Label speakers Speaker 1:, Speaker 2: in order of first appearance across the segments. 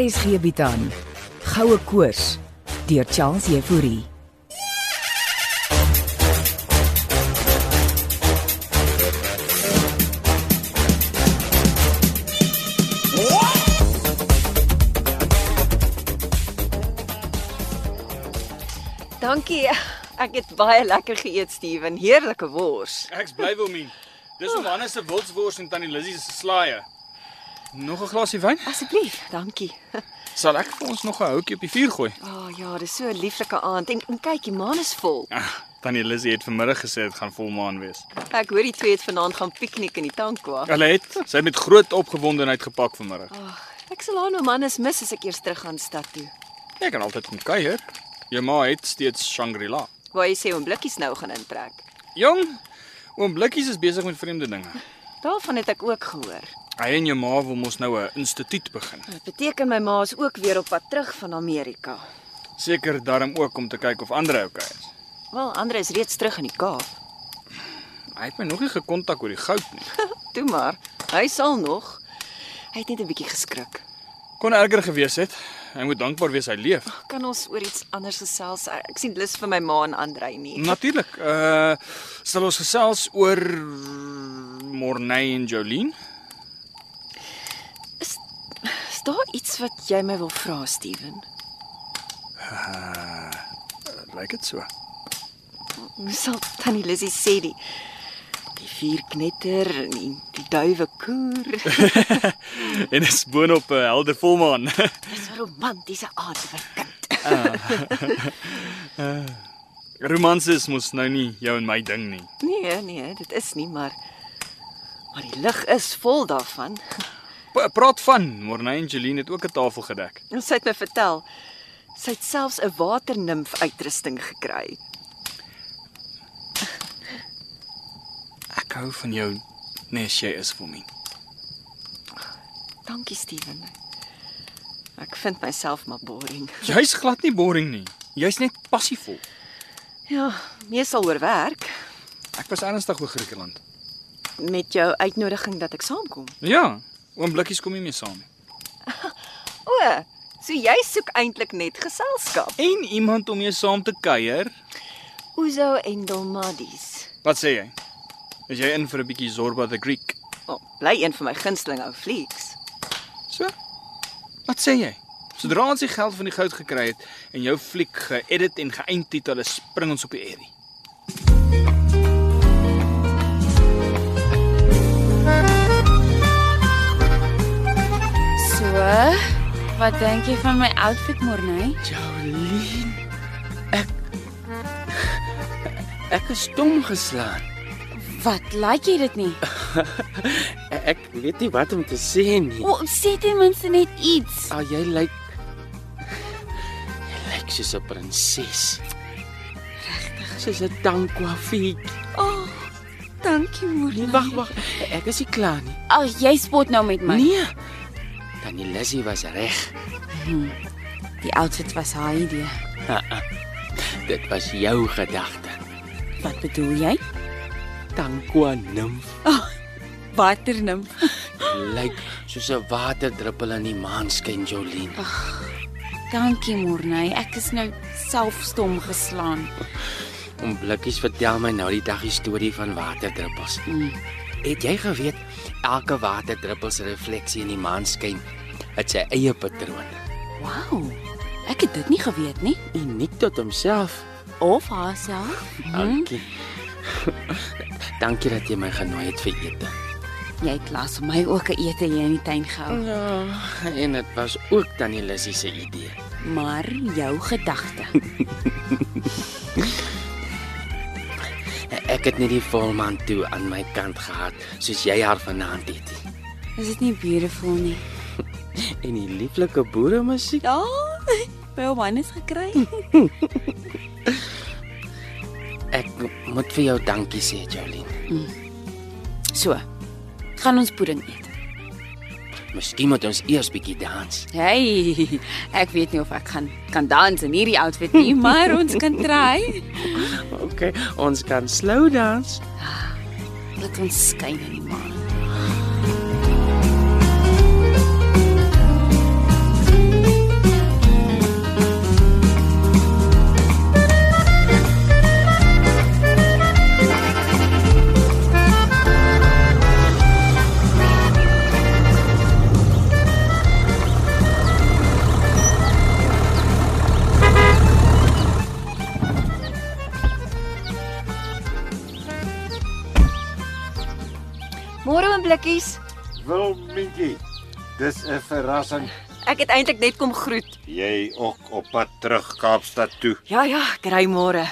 Speaker 1: RSG bied aan Goue Koors deur Charles Euphorie.
Speaker 2: Dankie. Ek het baie lekker geëet, Steven. Heerlike wors.
Speaker 3: Ek's bly Wilmien. Dis om Hannes se wildswors en tannie Lizzie se slaaië. Nog 'n glasie wyn?
Speaker 2: Asseblief, dankie.
Speaker 3: Sal ek vir ons nog 'n houtjie op die vuur gooi?
Speaker 2: O oh, ja, dis so 'n lieflike aand. En, en kyk, die maan is vol.
Speaker 3: Ag, Ah, tannie Lizzie het vanmiddag gesê dit gaan volmaan wees.
Speaker 2: Ek hoor die twee het vanaand gaan piknik in die tankwa.
Speaker 3: Hulle het sy het met groot opgewondenheid gepak vanmiddag.
Speaker 2: Ag, ek sal haar nou mannes mis as ek eers terug gaan stad toe.
Speaker 3: Jy kan altyd kom kuier. Jou ma het steeds Shangri-La.
Speaker 2: Waar jy sê om blikkies nou gaan intrek.
Speaker 3: Jong, oom Blikkies is besig met vreemde dinge.
Speaker 2: Daarvan het ek ook gehoor.
Speaker 3: Hy en jou ma wil mos nou 'n instituut begin.
Speaker 2: Dit beteken my ma is ook weer op pad terug van Amerika.
Speaker 3: Seker daarom ook om te kyk of ander oukei is.
Speaker 2: Wel, Andre is reeds terug in die Kaap.
Speaker 3: Hy het my nog nie gekontak oor die goud nie.
Speaker 2: Toe maar, hy sal nog. Hy het net 'n bietjie geskrik.
Speaker 3: Kon erger gewees het. Hy moet dankbaar wees hy leef.
Speaker 2: Kan ons oor iets anders gesels? Ek sien lus vir my ma en Andre nie.
Speaker 3: Natuurlik. Uh sal ons gesels oor Morney en Jolene?
Speaker 2: Is, is daar iets wat jy my wil vra, Steven?
Speaker 3: Lyk dit so.
Speaker 2: Hoe sal tannie Lizzie sê die die vuurknetter en die, die duwe koer?
Speaker 3: En is boonop 'n helder volmaan.
Speaker 2: Dis 'n romantiese aand vir kind.
Speaker 3: Romans is mos nou nie jou en my ding nie.
Speaker 2: Nee, nee, dit is nie, maar maar die lig is vol daarvan.
Speaker 3: P praat van Morney en Jolene het ook 'n tafel gedek.
Speaker 2: En sy het my vertel sy het selfs 'n waternimf uitrusting gekry.
Speaker 3: Ek hou van jou nes jy is vir my.
Speaker 2: Dankie, Steven. Ek vind myself maar boring.
Speaker 3: Jy's glad nie boring nie. Jy's net passievol.
Speaker 2: Ja, meestal oor werk
Speaker 3: Ek was ernstig oor Griekeland.
Speaker 2: met jou uitnodiging dat ek saamkom.
Speaker 3: Ja, oom Blikkies kom nie meer saam nie.
Speaker 2: O, so jy soek eintlik net geselskap.
Speaker 3: En iemand om mee saam te kuier.
Speaker 2: Uzo en Dolmadis.
Speaker 3: Wat sê jy? Is jy in vir 'n bietjie Zorba the Greek?
Speaker 2: O, oh, bly een van my gunsteling ou flieks.
Speaker 3: So? Wat sê jy? Sodra ons die geld van die goud gekry het en jou fliek geëdit en geëindtitel is, spring ons op die airie.
Speaker 4: So, wat dink jy van my outfit môre?
Speaker 5: Jolien. Ek ek is stom geslaan.
Speaker 4: Wat lyk jy dit nie?
Speaker 5: Ek weet nie wat om te sê nie.
Speaker 4: O, sê ten minste net iets.
Speaker 5: Ah, jy lyk jy lyk soos 'n prinses. Regtig, soos 'n tankwafiek.
Speaker 4: O, oh, dankie môre.
Speaker 5: Nee, Wag, wag, ek is nie klaar nie.
Speaker 4: Ag, jy spot nou met my.
Speaker 5: Nee. Tannie Lizzie was reg.
Speaker 4: Hmm. Die outfit was haar idee.
Speaker 5: Dit was jou gedagte.
Speaker 4: Wat bedoel jy?
Speaker 5: Tankwa nimf
Speaker 4: Waternimf.
Speaker 5: lyk soos 'n waterdruppel in die maanskyn, Jolien.
Speaker 4: Dankie môre. Ek is nou self stom geslaan.
Speaker 5: Om blikkies vertel my nou die dag die storie van waterdruppels.
Speaker 4: Mm.
Speaker 5: Het jy geweet elke waterdruppel se refleksie in die maanskyn het sy eie patroon,
Speaker 4: Wow. Ek het dit nie geweet nie
Speaker 5: uniek tot homself.
Speaker 4: of haarself.
Speaker 5: Dankie. Dankie dat jy my genooi het vir ete.
Speaker 4: Jy het laas vir my ook 'n ete hier in die tuin gehou,
Speaker 5: Ja, en dit was ook tannie Lissy se idee.
Speaker 4: maar jou gedagte.
Speaker 5: Ek het net die volmaan toe aan my kant gehad, soos jy haar vanaand het.
Speaker 4: Is dit nie beautiful nie?
Speaker 5: En die lieflike boere musiek.
Speaker 4: Ja, by hom aan is gekry.
Speaker 5: Ek moet vir jou dankie sê, Jolien.
Speaker 4: So. Gaan ons pudding eet.
Speaker 5: Miskien moet ons eers bietjie dans.
Speaker 4: Hey, ek weet nie of ek gaan kan dans in hierdie outfit nie, maar ons kan try.
Speaker 5: OK, ons kan slow dans.
Speaker 4: Laat ons skyn in die maan.
Speaker 2: blikkies.
Speaker 6: Wilmintjie, dis 'n verrassing.
Speaker 2: Ek het eintlik net kom groet.
Speaker 6: Jy ook op pad terug Kaapstad toe.
Speaker 2: Ja ja, kry môre.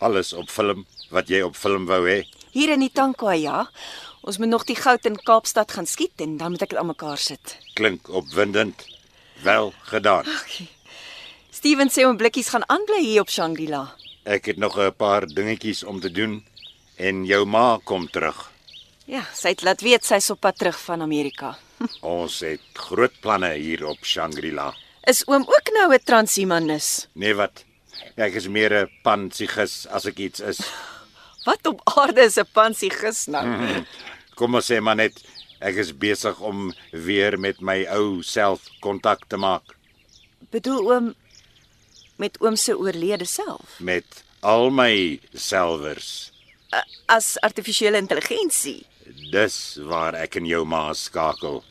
Speaker 6: Alles op film wat jy op film wou hê.
Speaker 2: Hier in die Tankwa ja. Ons moet nog die goud in Kaapstad gaan skiet en dan moet ek dit aan mekaar sit.
Speaker 6: Klink opwindend. Wel gedaan.
Speaker 2: Steven sê om blikkies gaan aanbly hier op Shangri-La.
Speaker 6: Ek het nog 'n paar dingetjies om te doen en jou ma kom terug.
Speaker 2: Ja, sy het laat weet sy's op pad terug van Amerika.
Speaker 6: Ons het groot planne hier op Shangri-La.
Speaker 2: Is oom ook nou 'n transhumanis?
Speaker 6: Nee wat? Ek is meer 'n pansigus as ek iets is.
Speaker 2: Wat op aarde is 'n pansigus nou?
Speaker 6: Kom ons sê maar net ek is besig om weer met my ou self kontak te maak
Speaker 2: Bedoel oom met oom se oorlede self
Speaker 6: met al my selvers.
Speaker 2: A- as artifisiële intelligensie,
Speaker 6: Dis waar ek en jou ma skakel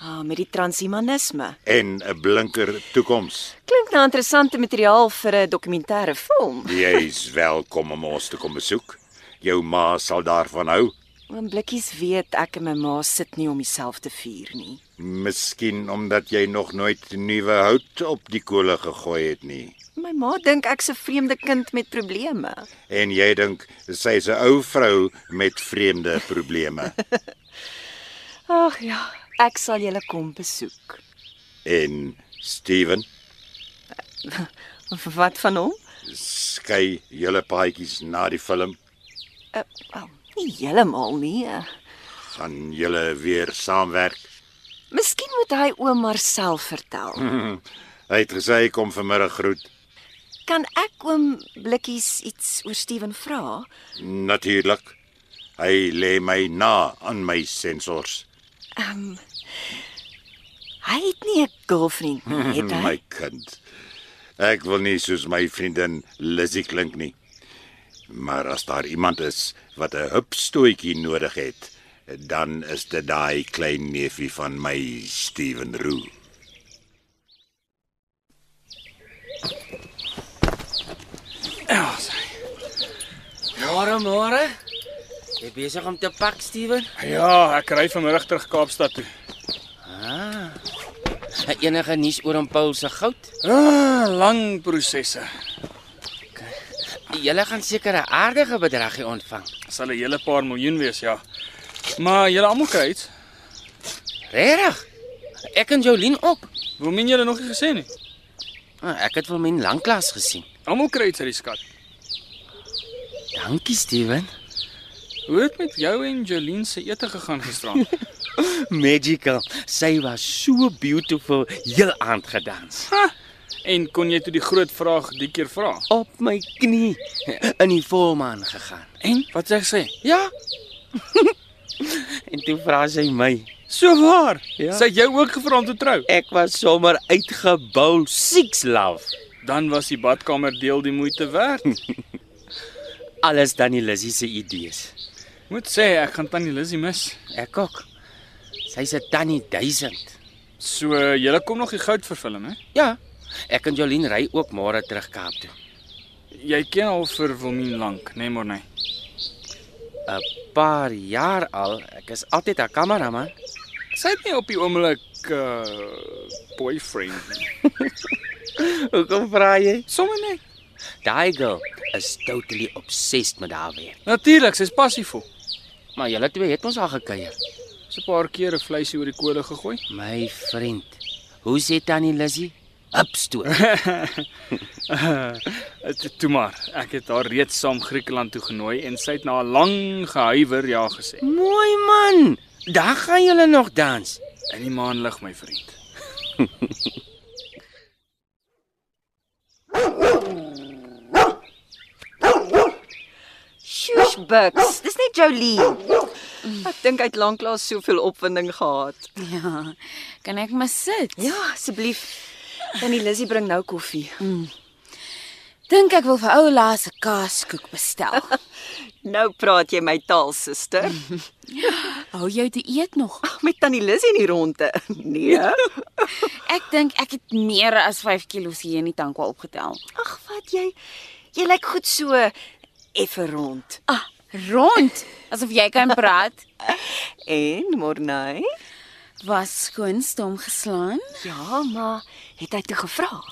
Speaker 2: ah, met die transhumanisme.
Speaker 6: en 'n blinker toekoms.
Speaker 2: Klink na interessante materiaal vir 'n dokumentêre film.
Speaker 6: Jy's welkom om ons te kom besoek. Jou ma sal daarvan hou.
Speaker 2: Oom Blikkies weet ek en my ma sit nie om myself te vier nie.
Speaker 6: Miskien omdat jy nog nooit nuwe hout op die kolle gegooi het nie.
Speaker 2: My ma dink ek's 'n vreemde kind met probleme.
Speaker 6: En jy dink sy's 'n ou vrou met vreemde probleme
Speaker 2: Ag ja, ek sal julle kom besoek.
Speaker 6: en Steven
Speaker 2: Wat van hom?
Speaker 6: skei julle paadjies na die film
Speaker 2: Uh, oh, nie heeltemal nie. eh.
Speaker 6: gaan julle weer saamwerk.
Speaker 2: Miskien moet hy oom Marcel vertel.
Speaker 6: Hy het gesê kom vanmiddag groet.
Speaker 2: Kan ek oom Blikkies iets oor Steven vra?
Speaker 6: Natuurlik. Hy lê my na aan my sensors.
Speaker 2: Hy het nie 'n girlfriend nie, het hy?
Speaker 6: My kind. Ek wil nie soos my vriendin Lizzy klink nie. Maar as daar iemand is wat 'n hupstootjie nodig het, dan is dit daai klein neefie van my Steven Roo.
Speaker 5: Môre, môre. Jy besig om te pak, Steven?
Speaker 3: Ja, ek ry vanmiddag terug Kaapstad toe.
Speaker 5: Het Enige nuus oor hom Paul se goud?
Speaker 3: Ah, lang prosesse.
Speaker 5: Jy gaan seker 'n aardige bedragie ontvang.
Speaker 3: Sal 'n hele paar miljoen wees, ja. Maar julle almal kry iets.
Speaker 5: Regtig? Ek en Jolien ook.
Speaker 3: Hoe min julle nog nie gesê nie.
Speaker 5: Ah, Ek het wel min lanklaas gesien.
Speaker 3: Almal kry iets uit die skat.
Speaker 5: Dankie, Steven.
Speaker 3: Hoe het met jou en Jolien se ete gegaan gisteraan?
Speaker 5: Magical. Sy was so beautiful, heel aand gedans.
Speaker 3: en kon jy toe die groot vraag die keer vra?
Speaker 5: Op my knie in die volmaan gegaan.
Speaker 3: En wat sê sy?
Speaker 5: Ja. en toe vra sy my.
Speaker 3: So waar.
Speaker 5: Ja.
Speaker 3: Sy het jou ook gevra om te trou.
Speaker 5: Ek was sommer uitgebou, six love.
Speaker 3: Dan was die badkamer deel die moeite werd.
Speaker 5: Alles dan die Lizzie se idees.
Speaker 3: Moet sê ek gaan tannie Lizzy mis.
Speaker 5: Ek ook. Sy's 'n tannie 1000.
Speaker 3: So julle kom eh, nog die goud vervilm hè?
Speaker 5: Ja. Ek en Jolien ry ook môre terug Kaap toe.
Speaker 3: Jy ken al vir Wilmien lank, né, nee, Morney?
Speaker 5: 'n Paar jaar al. Ek is altyd haar kameraman.
Speaker 3: Sy het nie op die oomblik 'n uh, boyfriend nie.
Speaker 5: Hoekom vra jy?
Speaker 3: Sommige net.
Speaker 5: Daai girl is totally obsessed met haar werk.
Speaker 3: Natuurlik, sy's passievol.
Speaker 5: Maar julle twee het ons al gekuier.
Speaker 3: Sy 'n paar keer 'n vleisie oor die kole gegooi.
Speaker 5: My vriend. Hoe sê tannie Lizzie? Hupstoot.
Speaker 3: Dit toe maar. Ek het haar reeds saam Griekeland toe genooi en sy het na 'n lang gehuiwer ja gesê.
Speaker 5: Mooi man. Daar gaan julle nog dans.
Speaker 3: In die maan lig my vriend.
Speaker 2: Shush Bucks, dis net Jolien. Ek dink hy het lanklaas soveel opwinding gehad.
Speaker 4: Ja. Kan ek maar sit?
Speaker 2: Ja, asseblief. Tannie Lizzy bring nou koffie.
Speaker 4: Dink ek wil vir ou Laas 'n kaaskoek bestel.
Speaker 2: Nou praat jy my taal, suster.
Speaker 4: Hou jou te eet nog.
Speaker 2: Met Tannie Lizzy in die ronde. Nee.
Speaker 4: Ek dink ek het meer as 5 kilos hier in die tankwa opgetel.
Speaker 2: Ag, wat jy jy lyk goed so effe rond.
Speaker 4: Ah, rond asof jy kan praat.
Speaker 2: En Mornay?
Speaker 4: Was skoon stom geslaan
Speaker 2: Ja, maar het hy toe gevra?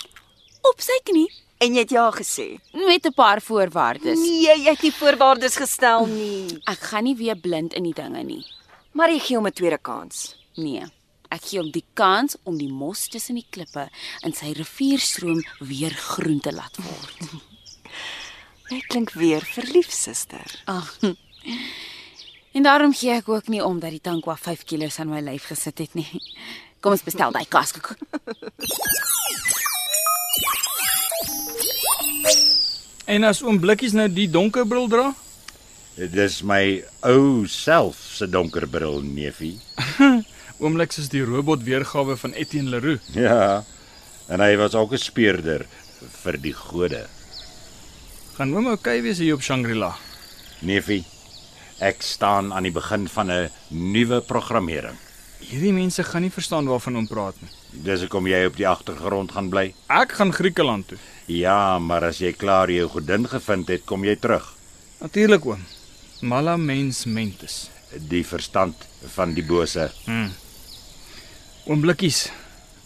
Speaker 4: op sy knie
Speaker 2: En jy het ja gesê.
Speaker 4: met 'n paar voorwaardes.
Speaker 2: Nee, jy het nie voorwaardes gestel nie.
Speaker 4: Ek gaan nie weer blind in die dinge nie.
Speaker 2: Maar jy gee hom 'n tweede kans.
Speaker 4: Nee. Ek gee hom die kans om die mos tussen die klippe in sy rivierstroom weer groen te laat word.
Speaker 2: Jy klink weer verlief, suster.
Speaker 4: Ag. En daarom gee ek ook nie om dat die tankwa 5 kg aan my lyf gesit het nie. Kom ons bestel daai kaaskoek.
Speaker 3: En as oom Blikkies nou die donker bril dra?
Speaker 6: Dis my ou self se donker bril neefie.
Speaker 3: Oomliks is die robot weergawe van Etienne Leroux.
Speaker 6: Ja. En hy was ook 'n speurder vir die gode.
Speaker 3: Gaan oom okay wees hier op Shangri-La?
Speaker 6: Neefie, ek staan aan die begin van 'n nuwe programmering.
Speaker 3: Hierdie mense gaan nie verstaan waarvan oom praat nie.
Speaker 6: Dis hoekom jy op die agtergrond gaan bly.
Speaker 3: Ek gaan Griekeland toe.
Speaker 6: Ja, maar as jy klaar jou godin gevind het, kom jy terug.
Speaker 3: Natuurlik oom. Mala mens mentis.
Speaker 6: Die verstand van die bose.
Speaker 3: Oom Blikkies,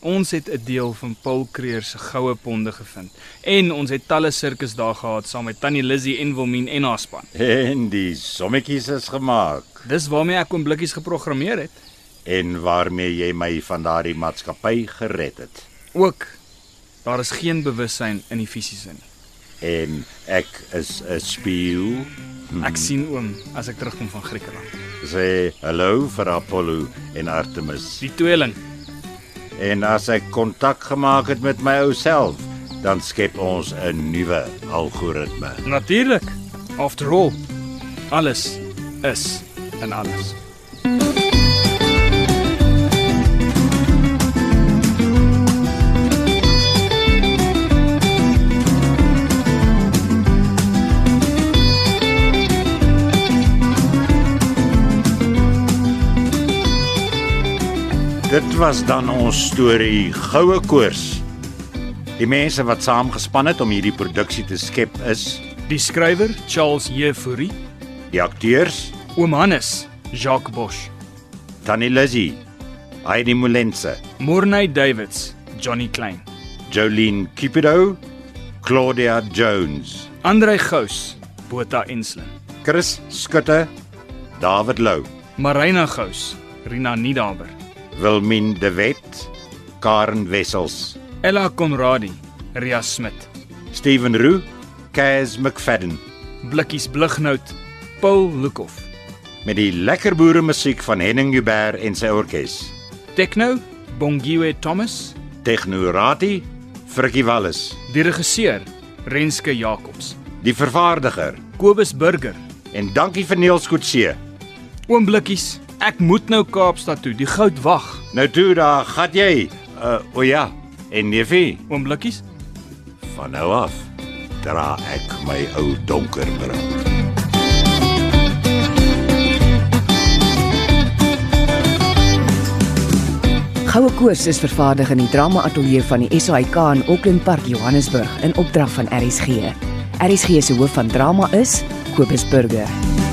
Speaker 3: ons het 'n deel van Paul Creer se goue ponde gevind en ons het talle sirkusdae gehad saam met Tannie Lizzy en Wilmien en haar span.
Speaker 6: En die sommetjies is gemaak
Speaker 3: Dis waarmee ek oom Blikkies geprogrammeer het.
Speaker 6: en waarmee jy my van daardie maatskappy gered het.
Speaker 3: Ook daar is geen bewussyn in die fisiese nie.
Speaker 6: En ek is 'n spieël.
Speaker 3: Ek sien oom as ek terugkom van Griekeland.
Speaker 6: Sê hallo vir Apollo en Artemis.
Speaker 3: Die tweeling.
Speaker 6: En as ek kontak gemaak het met my ou self, dan skep ons 'n nuwe algoritme.
Speaker 3: Natuurlik. After all, alles is in alles.
Speaker 6: Dit was dan ons storie Goue Koors. Die mense wat saamgespan het om hierdie produksie te skep is
Speaker 3: Die skrywer Charles Jefourie,
Speaker 6: die akteurs
Speaker 3: oom Hannes, Jacques Bosch,
Speaker 6: Tannie Lizzy, Heidi Molense,
Speaker 3: Morney Davids, Johnny Klein,
Speaker 6: Jolene Cupido, Claudia Jones,
Speaker 3: Andrei Gous, Botha Enslin,
Speaker 6: Chris Skutte, David Lou,
Speaker 3: Marina Gous, Rina Niedaber,
Speaker 6: Wilmien De Wet, Karen Wessels,
Speaker 3: Ella Conradi, Ria Smit,
Speaker 6: Steven Roo, Kaz McFadden
Speaker 3: Blikkies Blighnout, Paul Lukhof,
Speaker 6: met die lekker boere musiek van Henning Jubber en sy orkes.
Speaker 3: Techno Bongiwe Thomas,
Speaker 6: Technorati Frikkie Wallis,
Speaker 3: die regisseur Renske Jacobs,
Speaker 6: die vervaardiger
Speaker 3: Kobus Burger,
Speaker 6: En dankie vir Neels Kutse.
Speaker 3: oom Blikkies. Ek moet nou Kaapstad toe, die goud wag.
Speaker 6: Nou toe daar, gat jy. Uh o ja, en neefie,
Speaker 3: Oom Blikkies.
Speaker 6: van nou af dra ek my ou donker bril.
Speaker 1: Goue Koors is vervaardig in die Drama Ateljee van die SAIK in Auckland Park, Johannesburg in opdrag van RSG. RSG se hoof van drama is Kobus Burger.